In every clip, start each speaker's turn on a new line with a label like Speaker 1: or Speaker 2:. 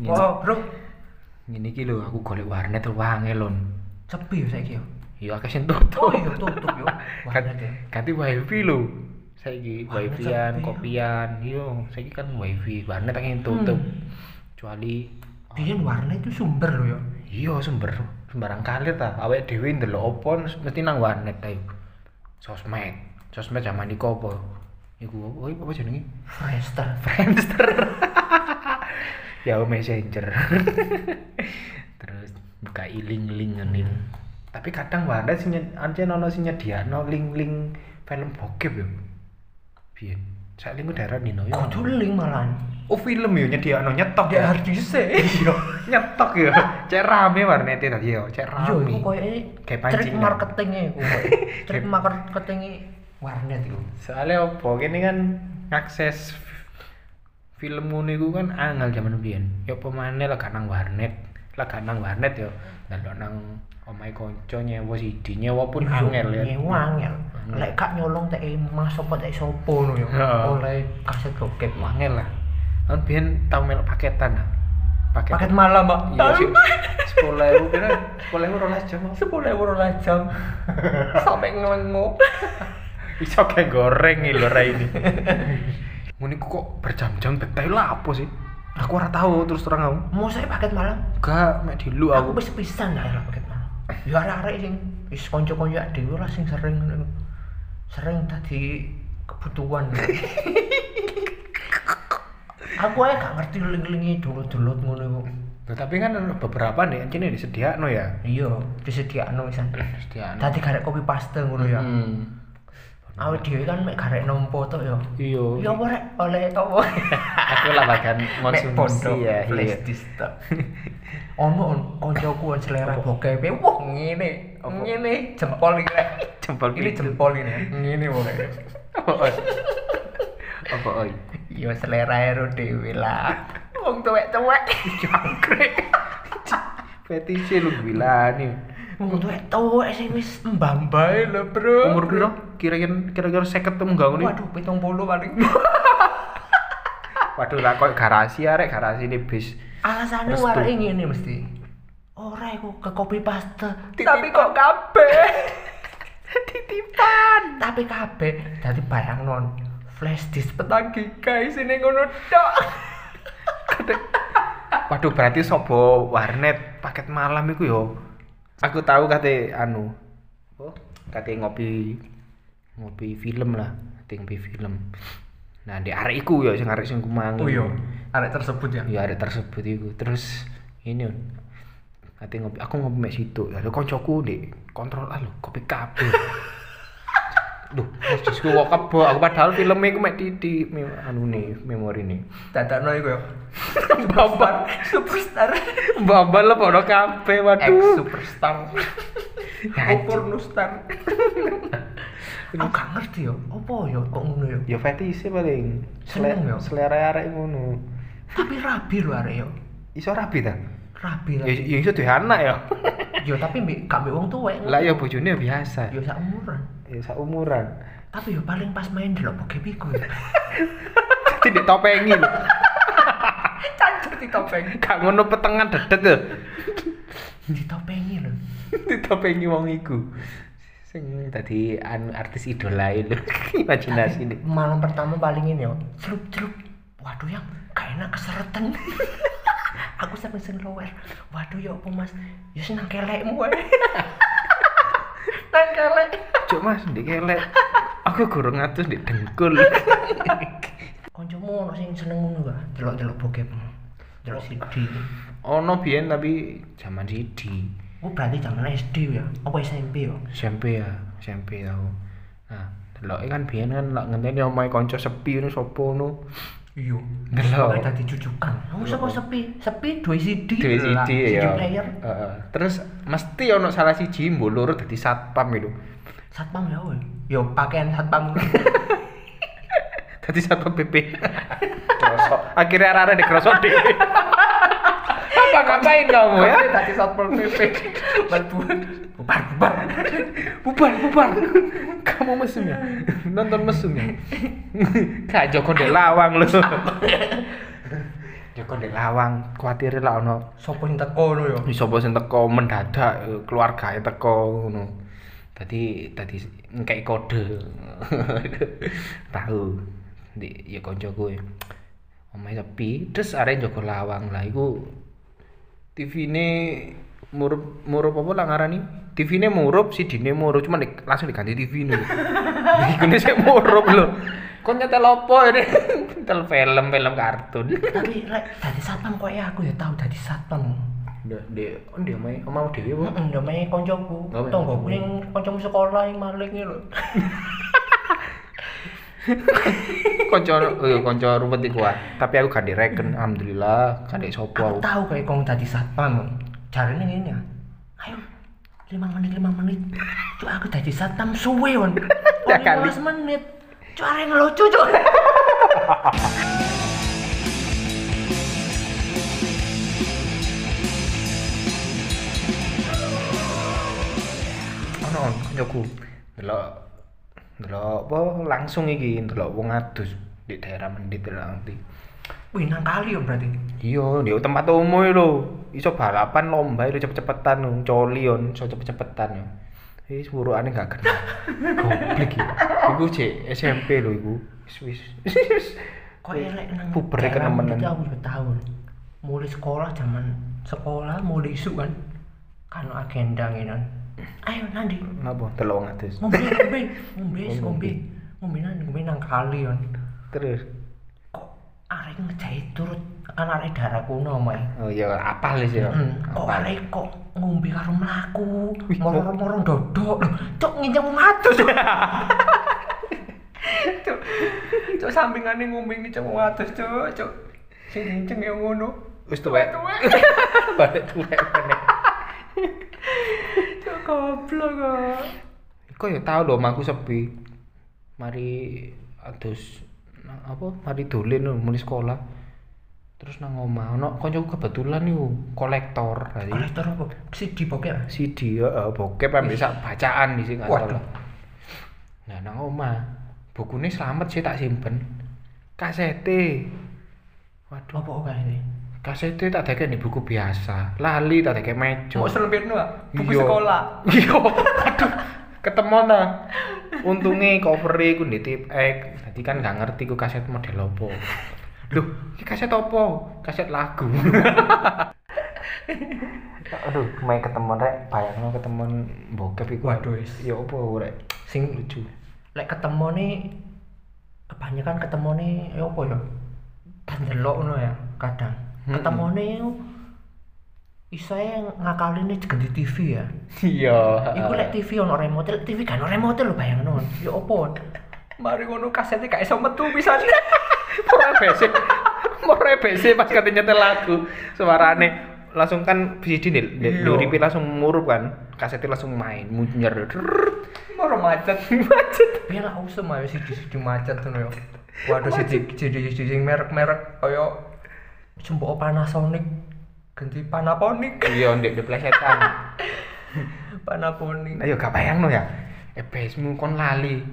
Speaker 1: Ngene.
Speaker 2: Wow, bro.
Speaker 1: Ngene iki lho aku golek warnet wah angel lon.
Speaker 2: Sepi ya saiki ya.
Speaker 1: Ya akeh sing
Speaker 2: Oh
Speaker 1: tutup.
Speaker 2: iya tutup ya. Warnet ya.
Speaker 1: Ganti wifi lho. Saiki
Speaker 2: Warnet
Speaker 1: wifi-an,
Speaker 2: sepi.
Speaker 1: kopian, yo saiki kan wifi, warnet akeh sing tutup. Kecuali
Speaker 2: Biyen warnet itu sumber loh ya.
Speaker 1: iya sumber sembarang kalir ta awake dhewe ndelok apa mesti nang warnet ta iku. sosmed sosmed zaman iku apa iku apa iku apa jenenge
Speaker 2: Friendster.
Speaker 1: Friendster Yahoo Messenger terus buka link-link ini tapi kadang warnet sih ancen ono sing nyediano link-link film bokep ya biyen saya link daerah Nino ya
Speaker 2: Kudu link malahan.
Speaker 1: oh film ya nyediano nyetok
Speaker 2: Dia
Speaker 1: ya
Speaker 2: harddisk Iya.
Speaker 1: nyetok ya cek rame warnetnya tadi ya cek
Speaker 2: Iya, iku
Speaker 1: rame Kayak
Speaker 2: koyoke trik
Speaker 1: pancingan.
Speaker 2: marketingnya iku. koyoke. Trik marketingnya warnet iku.
Speaker 1: soalnya opo ini kan akses film ngono iku kan angel jaman biyen ya apa maneh lah nang warnet lah nang warnet ya ndelok nang omahe kanca nyewa CD nyewa pun angel ya
Speaker 2: Iya, Nyewa angel.
Speaker 1: Angel.
Speaker 2: Lek gak nyolong teke mas apa teke sapa ngono ya.
Speaker 1: Heeh.
Speaker 2: Oleh kaset bokep Mas.
Speaker 1: angel lah kan biyen tau melok paketan lah
Speaker 2: Paket malam, Mbak.
Speaker 1: iya sih 10.000 kira 10.000 12 jam Mas.
Speaker 2: sepuluh euro lah jam sampai ngelengu
Speaker 1: iso kayak goreng nih lho Rai ini Ngono iku kok berjam-jam detail lah apa sih aku ora tahu terus terang aku
Speaker 2: mau saya paket malam
Speaker 1: gak mek dilu aku
Speaker 2: aku wis pisan lah era paket malam ya arek-arek sing wis kanca-kanca dhewe lah sing sering ngono iku. sering tadi kebutuhan aku aja gak ngerti link-linknya dulu-dulu ngono iku
Speaker 1: Loh, tapi kan ada beberapa nih ini disediakno ya
Speaker 2: iya disediakno wisan
Speaker 1: disediakno
Speaker 2: tadi garek kopi paste ngono ya
Speaker 1: hmm.
Speaker 2: awake dhewe kan mek garek nompo tok ya
Speaker 1: iya
Speaker 2: ya apa rek oleh apa
Speaker 1: aku lah bagian konsumsi ya iya
Speaker 2: iya. ono on koncoku on selera bokep wah ngene
Speaker 1: Apa?
Speaker 2: ngene jempol iki rek
Speaker 1: jempol
Speaker 2: ini
Speaker 1: pitu.
Speaker 2: jempol ini ngene wong rek.
Speaker 1: apa oi apa oh, iya. oi
Speaker 2: ya selera ero dhewe lah wong tuwek-tuwek jangkrik
Speaker 1: fetise lu gila nih
Speaker 2: wong tuwek-tuwek sing wis mbambae ya, lho bro
Speaker 1: umur piro kira-kira kira-kira 50 temu gak ngono
Speaker 2: waduh 70 paling
Speaker 1: waduh lah kok garasi arek garasi ini bis
Speaker 2: alasannya
Speaker 1: Restu.
Speaker 2: warna ngene mesti ora iku ke copy paste tapi kok kabeh
Speaker 1: titipan
Speaker 2: tapi kabeh dadi bayang non flash disk petang giga isine ngono tok
Speaker 1: waduh berarti sobo warnet paket malam iku yo aku tahu kate anu oh kate ngopi ngopi film lah kate ngopi film nah di arek iku yo sing arek sing kumang
Speaker 2: Oh iya. arek tersebut ya
Speaker 1: ya arek tersebut iku terus ini Un. kate ngopi aku ngopi mek situ lalu koncoku di kontrol ah lho kopi kabeh Duh, terus gue kebo, aku padahal filmnya gue mek di, di mem- anu nih, memori nih
Speaker 2: dadakno iku ya babar superstar
Speaker 1: Babal lah pada kafe,
Speaker 2: ex
Speaker 1: waduh.
Speaker 2: superstar nustar aku gak ngerti yo opo yo kok ngono yo
Speaker 1: Ya fetise paling. Sele-
Speaker 2: Seneng ya?
Speaker 1: Selera arek ngono.
Speaker 2: tapi rabi lho arek yo
Speaker 1: Iso rapi ta?
Speaker 2: rabi
Speaker 1: Ya
Speaker 2: rabi
Speaker 1: ya iso duwe anak ya.
Speaker 2: yo tapi mbek gak mbek wong tuwek
Speaker 1: Lah ya bojone ya biasa.
Speaker 2: yo sak umuran
Speaker 1: Ya sak umuran.
Speaker 2: tapi yo paling pas main delok bokep iku yo
Speaker 1: Tidak topengi lho.
Speaker 2: cancur ditopeng
Speaker 1: Gak ngono petengan dedet lho.
Speaker 2: ditopengi lho
Speaker 1: Ditopengi wong iku. Sing tadi anu artis idola lho. Imajinasi nih.
Speaker 2: malam pertama paling ini yo celup celup waduh yang gak enak keseretan aku sampe sing lower waduh ya apa mas ya sih nang kelekmu wae nang kelek
Speaker 1: Cuk Mas, ndek kelek. Aku gorong ngatus ndek dengkul.
Speaker 2: koncomu ono sing seneng ngono gak delok-delok bokep delok CD
Speaker 1: Ono biyen tapi zaman CD.
Speaker 2: Oh berarti zaman SD ya? Apa SMP ya?
Speaker 1: SMP ya, SMP tau. Nah, delok kan biyen kan lak ngenteni omahe kanca sepi ngono sapa ngono.
Speaker 2: Iya.
Speaker 1: Delok.
Speaker 2: Mulai tadi cucukan. Aku Oh, sapa sepi? Sepi dua iya. CD.
Speaker 1: Dhewe
Speaker 2: Lah,
Speaker 1: CD ya.
Speaker 2: player.
Speaker 1: Heeh. Terus mesti ono salah siji mbok loro dadi satpam itu.
Speaker 2: Satpam ya woy. Yo pakaian satpam.
Speaker 1: Dadi satpam PP. Krosok. Akhirnya arah-arah di krosok dhewe. Apa ngapain kamu ya?
Speaker 2: tadi satpol pp bubar bubar bubar bubar
Speaker 1: Bubar, bubar. kamu mesum ya nonton mesum ya kak Joko ndek lawang lho Joko ndek lawang kuatir lah ono
Speaker 2: Sopo sing teko lho ya.
Speaker 1: sapa sing teko mendadak eh, keluargae teko ngono tadi tadi kayak kode tahu di ya koncoku ya omahe sepi terus arek Joko lawang lah iku TV-ne murup murup apa lah ngarani TV-ne murup si Dine murup cuma di, langsung diganti TV ne iku ne sik murup lho kon nyetel opo ini nyetel film film kartun
Speaker 2: Tapi rek dadi satpam kok ya aku ya tahu dadi satpam.
Speaker 1: ndek ndek oh, ndek omahe omamu dhewe apa?
Speaker 2: Heeh, ndame koncoku.
Speaker 1: Ndame
Speaker 2: Tonggoku
Speaker 1: koncoku.
Speaker 2: ning koncomu sekolah yang maling iki lho.
Speaker 1: konco eh konco rumput iku ah. Tapi aku gak direken, alhamdulillah gak dek sapa aku.
Speaker 2: Aku tahu kayak kong tadi satpam. Caranya gini ya. Ayo, lima menit lima menit. Cuk aku tadi satpam suwe on.
Speaker 1: Ya kali.
Speaker 2: 15 menit. Cuk arek ngelucu cuk.
Speaker 1: Ono on koncoku. Delok delok apa langsung iki delok wong adus di daerah Mendit delok nanti.
Speaker 2: Wih nang kali ya berarti.
Speaker 1: Iya, di tempat umum lho. Iso balapan lomba itu cepet-cepetan lho, coli on, iso cepet-cepetan yo. Eh, sepurukane gak kena. Goblok iki. Iku cek SMP lho iku. Wis wis.
Speaker 2: Kok elek nang.
Speaker 1: Pubernya
Speaker 2: daerah
Speaker 1: kenemenan.
Speaker 2: Mendit Aku juga tahu. Mulai sekolah zaman sekolah mulai isu kan. Kan agenda gini. Ayo nanti.
Speaker 1: Napa delok wong adus.
Speaker 2: Ngombe ngombe ngombe ngombe ngombe nang ngombe nang kali on.
Speaker 1: Terus
Speaker 2: Kok arek ngejahit turut kan arek darah kuno mai.
Speaker 1: Oh iya, apal sih ya.
Speaker 2: Hmm, kok
Speaker 1: Apal.
Speaker 2: arek kok ngombe karo mlaku,
Speaker 1: Wih,
Speaker 2: moro-moro ndodok. Loh, Cuk nginceng watu. Cuk. Cuk. Cuk sampingane ngombe nginceng watu, Cuk. Cuk. Sing nginceng ya ngono.
Speaker 1: Wis tuwek. Balik tuwek meneh.
Speaker 2: Cuk goblok kok.
Speaker 1: Kok ya tau lho omahku sepi. Mari adus nang apa? Mari dolen lho muni sekolah. Terus nang omah ono kancaku kebetulan iku kolektor. Jadi
Speaker 2: Kolektor apa? Si dipokek. ah?
Speaker 1: CD heeh bokep ambek sak bacaan di sini nggak
Speaker 2: Waduh.
Speaker 1: salah. Nah nang omah bukune selamat sih tak simpen. Kasete. Waduh,
Speaker 2: Apa apa ini?
Speaker 1: kasete tak dake di buku biasa. Lali tak dake meja.
Speaker 2: selempirno ah?
Speaker 1: Iya. Iya. Aduh, ketemu nah. Untungnya covernya ku di tip ek. Tadi kan gak ngerti ku kaset model opo. Duh, ini kaset opo? Kaset lagu. Aduh, main ketemu rek, bayangno ketemu bokep iku.
Speaker 2: Waduh, wis.
Speaker 1: ya opo rek?
Speaker 2: Sing lucu. Lek ketemu nih kebanyakan ketemu nih ya apa ya? Bandelok ngono ya kadang.
Speaker 1: Mm-mm.
Speaker 2: Ketemu nih iso yang ngakalin nih di TV ya.
Speaker 1: Iya.
Speaker 2: Iku lek TV ono remote, lek TV kan ono remote lho bayangno. Ya apa? Mari ngono kasetnya gak iso metu pisan.
Speaker 1: Mora bese. Mora bese pas kate nyetel lagu. Suarane langsung kan CD nih,
Speaker 2: Iya.
Speaker 1: duripi langsung murup kan. Kasetnya langsung main, munyer.
Speaker 2: Moro macet, macet. Biar lah usum ayo siji-siji macet ngono ya. Waduh siji siji sing merek-merek kaya jempol Panasonic ganti Panasonic.
Speaker 1: Iya, ndek deplesetan.
Speaker 2: Panasonic.
Speaker 1: Ayo gak bayangno ya. EBS-mu kon lali.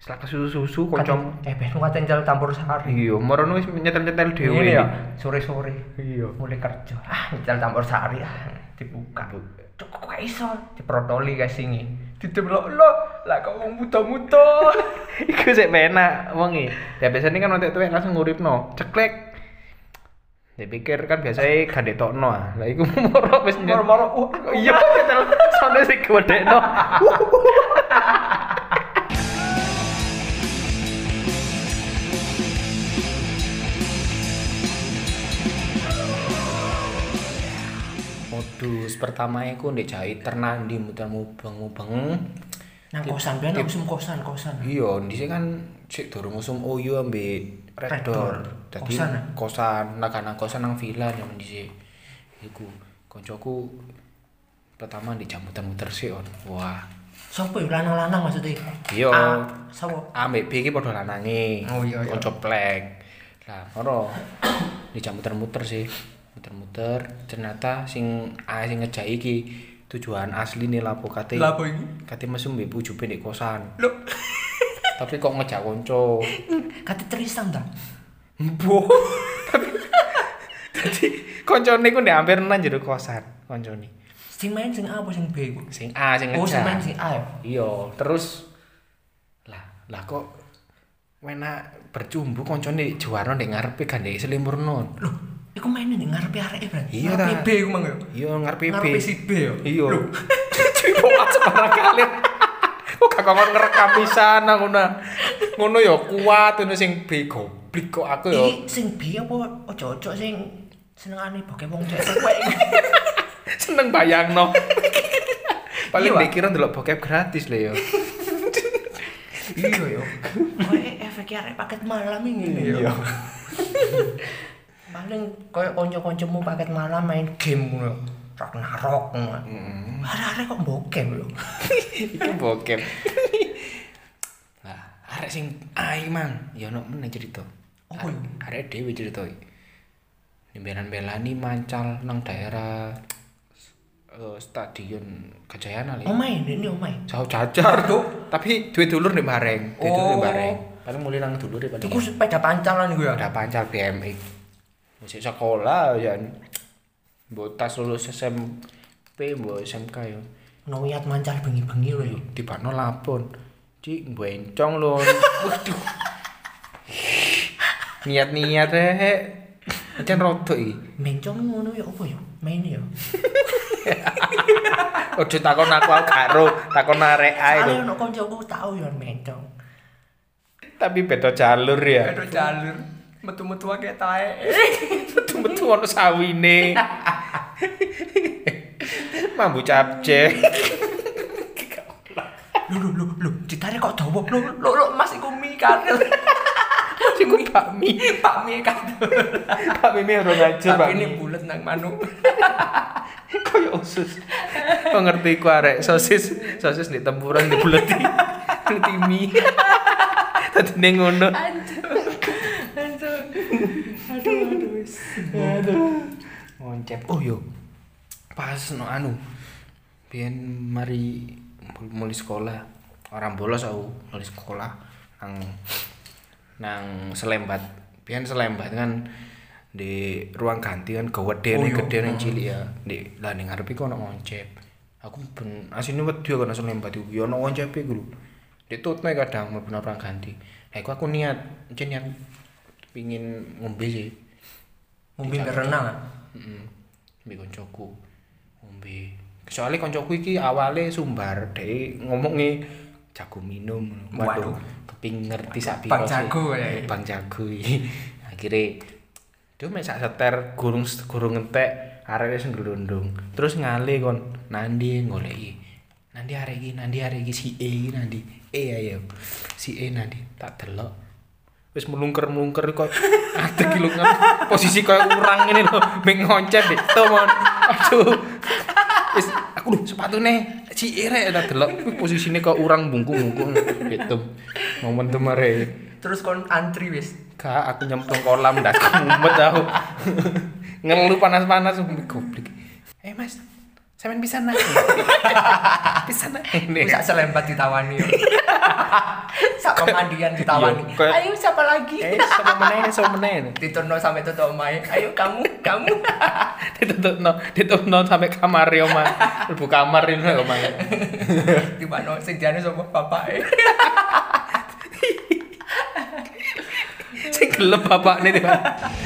Speaker 1: Selak susu-susu koncom.
Speaker 2: eh besok katen jal campur sari.
Speaker 1: Iya, morono wis nyetel-nyetel dhewe.
Speaker 2: Ini ya sore-sore
Speaker 1: Iya.
Speaker 2: mulai kerja. Ah, jal campur sari ah dibuka. Cuk kok gak iso diprotoli guys ini. Didelok lo lah kok wong muda-muda.
Speaker 1: Iku sik penak wong e. Ya biasane kan entek tuwek langsung nguripno. Ceklek. Dipikir kan biasanya gak ditokno ah. Lah iku moro wis nyet-
Speaker 2: Moro-moro uh
Speaker 1: Iya, nyetel sono sing gedekno. Modus pertama iku ndek jahit ternandi muter mubeng-mubeng.
Speaker 2: nang kosan ben usum kosan kosan.
Speaker 1: Iya, dhisik kan sik durung usum OYO ambek
Speaker 2: Red
Speaker 1: Redor.
Speaker 2: Door.
Speaker 1: Dadi
Speaker 2: Kosan, ya?
Speaker 1: kosan, nah kan kosan nang villa nang dhisik. Iku koncoku pertama di jam muter-muter sih on. Wah,
Speaker 2: Sopo yo lanang-lanang maksudnya?
Speaker 1: Iya.
Speaker 2: Ah, Sopo?
Speaker 1: A mbek B iki padha lanange.
Speaker 2: Oh, iya, iya.
Speaker 1: Konco plek. Lah, ora di jam muter-muter sih. Muter-muter ternyata sing A sing ah, ngejai iki Tujuan asli nih lapo kate.
Speaker 2: Lha apa iki?
Speaker 1: Kate mesum mbek pujuke nek kosan.
Speaker 2: Lho,
Speaker 1: Tapi kok ngejak konco.
Speaker 2: kate Tristan ta?
Speaker 1: Mbo. Dadi koncone ku ndek hampir nang jero kosan koncone.
Speaker 2: Sing main sing A apa sing B iku?
Speaker 1: Sing A sing
Speaker 2: Oh,
Speaker 1: ngejak.
Speaker 2: sing main sing A ya.
Speaker 1: Iya, terus lah, lah kok wena bercumbu koncone juwarno ning ngarepe gandhe selimurno.
Speaker 2: Lho, iku main ning ngarepe areke berarti.
Speaker 1: Iya,
Speaker 2: ngarepe
Speaker 1: ta.
Speaker 2: B iku mang ya.
Speaker 1: Iya ngarepe B.
Speaker 2: Ngarepe si B ya.
Speaker 1: Iya.
Speaker 2: Lho,
Speaker 1: Cuy kok aja parah kali. Kok gak kok ngerekam pisan nang ngono. Ngono ya kuat ngono sing B goblok kok aku ya.
Speaker 2: iki sing B apa ojo ojo sing senengane bokeh wong cewek kowe.
Speaker 1: Seneng bayangno. Paling
Speaker 2: Iya, Pak.
Speaker 1: dikira ndelok bokep gratis lho ya.
Speaker 2: Iya ya. Kowe efeknya arek paket malam ini
Speaker 1: Iya.
Speaker 2: ya. Paling koyo kanca-kancamu paket malam main game ngono. Ragnarok ngono.
Speaker 1: Mm.
Speaker 2: Arek-arek kok bokeh lho.
Speaker 1: Iki bokep. Lah, arek sing ai mang, ya ono meneh cerita.
Speaker 2: Apa iku?
Speaker 1: Arek dhewe cerita iki. Nembelan-belani mancal nang daerah eh, stadion Kejayaan lho.
Speaker 2: Oh main ini oh main.
Speaker 1: jauh jajar
Speaker 2: Tuh.
Speaker 1: tapi duit dulur nih bareng duit dulur nih
Speaker 2: Oh.
Speaker 1: bareng paling mulai nang dulur nih
Speaker 2: Iku sepeda pancalan iku ya.
Speaker 1: ada pancal BMX masih sekolah ya buat tas lulus SMP buat SMK ya
Speaker 2: Ono niat mancal bengi-bengi lho ya.
Speaker 1: di Bano lapon cik bencong lho waduh niat niat eh Jan rotok iki.
Speaker 2: Mencong ngono ya apa ya? Main ya.
Speaker 1: Ojo takon aku aku karo takon arek ae lho.
Speaker 2: Soalnya ono kancaku tau ya mencong.
Speaker 1: Tapi beda jalur ya.
Speaker 2: Aduh jalur. Metu-metu akeh tae.
Speaker 1: Metu-metu ono sawine. Mambu capcek.
Speaker 2: Lho lho lho lho, ditare kok dawa. Lho lho lho Mas iku mi kanel.
Speaker 1: Iku bakmi.
Speaker 2: Pak mi kanel.
Speaker 1: Bakmi mi ora ngajur
Speaker 2: Tapi ini
Speaker 1: bakmi.
Speaker 2: bulat nang manuk.
Speaker 1: Koyo ya usus. Kok ngerti ku arek sosis, sosis di tempuran di buleti. Ngerti mi. Tadi ning ngono.
Speaker 2: Aduh. Aduh aduh. wis.
Speaker 1: Ngoncep. Oh yo. Pas no anu. Biyen mari mul- mulai sekolah. Orang bolos aku mulai sekolah nang nang Selembat. Biyen Selembat kan di ruang ganti kan gede
Speaker 2: Oh,
Speaker 1: nih
Speaker 2: iya.
Speaker 1: gede nih cilik ya di lah ning ngarepe kono ngoncep aku ben asine wedi aku nang Selembat iku yo ono ngoncep iku lho ditutne kadang mau bener ruang ganti nah iku aku niat jen niat pingin ngombe sih
Speaker 2: Ngombe berenang. ah?
Speaker 1: Heeh. Mbek koncoku. Ngombe. Soale koncoku iki awale sumbar dhek ngomongi jago minum ngono.
Speaker 2: Waduh.
Speaker 1: Waduh, keping ngerti sak
Speaker 2: Bang
Speaker 1: piro sih.
Speaker 2: jago ya.
Speaker 1: eh. Bang jago iki. Akhire dia mek sak seter gurung gurung entek areke sing glundung. Terus ngale kon nandi goleki. Nandi arek iki, nandi arek iki si E iki nandi. E ayo. Si E nandi tak delok. wis melungker-melungker kok ada kilungan posisi kayak kurang ini loh ming ngoncet deh tuh mon aduh wis aku lho sepatu nih si irek ada delok Wih, posisinya kok urang bungkung-bungkung gitu momen tuh mare
Speaker 2: Terus kon antri wis.
Speaker 1: kak aku nyemplung kolam dan kumpet aku ngeluh panas-panas goblik eh mas saya main pisan nah pisan nah Nih.
Speaker 2: Wis sak selembat ditawani. yo. Sak pemandian ditawani.
Speaker 1: Iya, kayak-
Speaker 2: Ayo siapa lagi?
Speaker 1: eh sama meneh sama meneh
Speaker 2: Diturno sampai tutup omahe. Ayo kamu, kamu.
Speaker 1: ditutupno ditutupno sampai kamar ya oma ibu kamar ini lho oma
Speaker 2: Di mana sing jane sapa bapake?
Speaker 1: sing gelem bapak nih tiba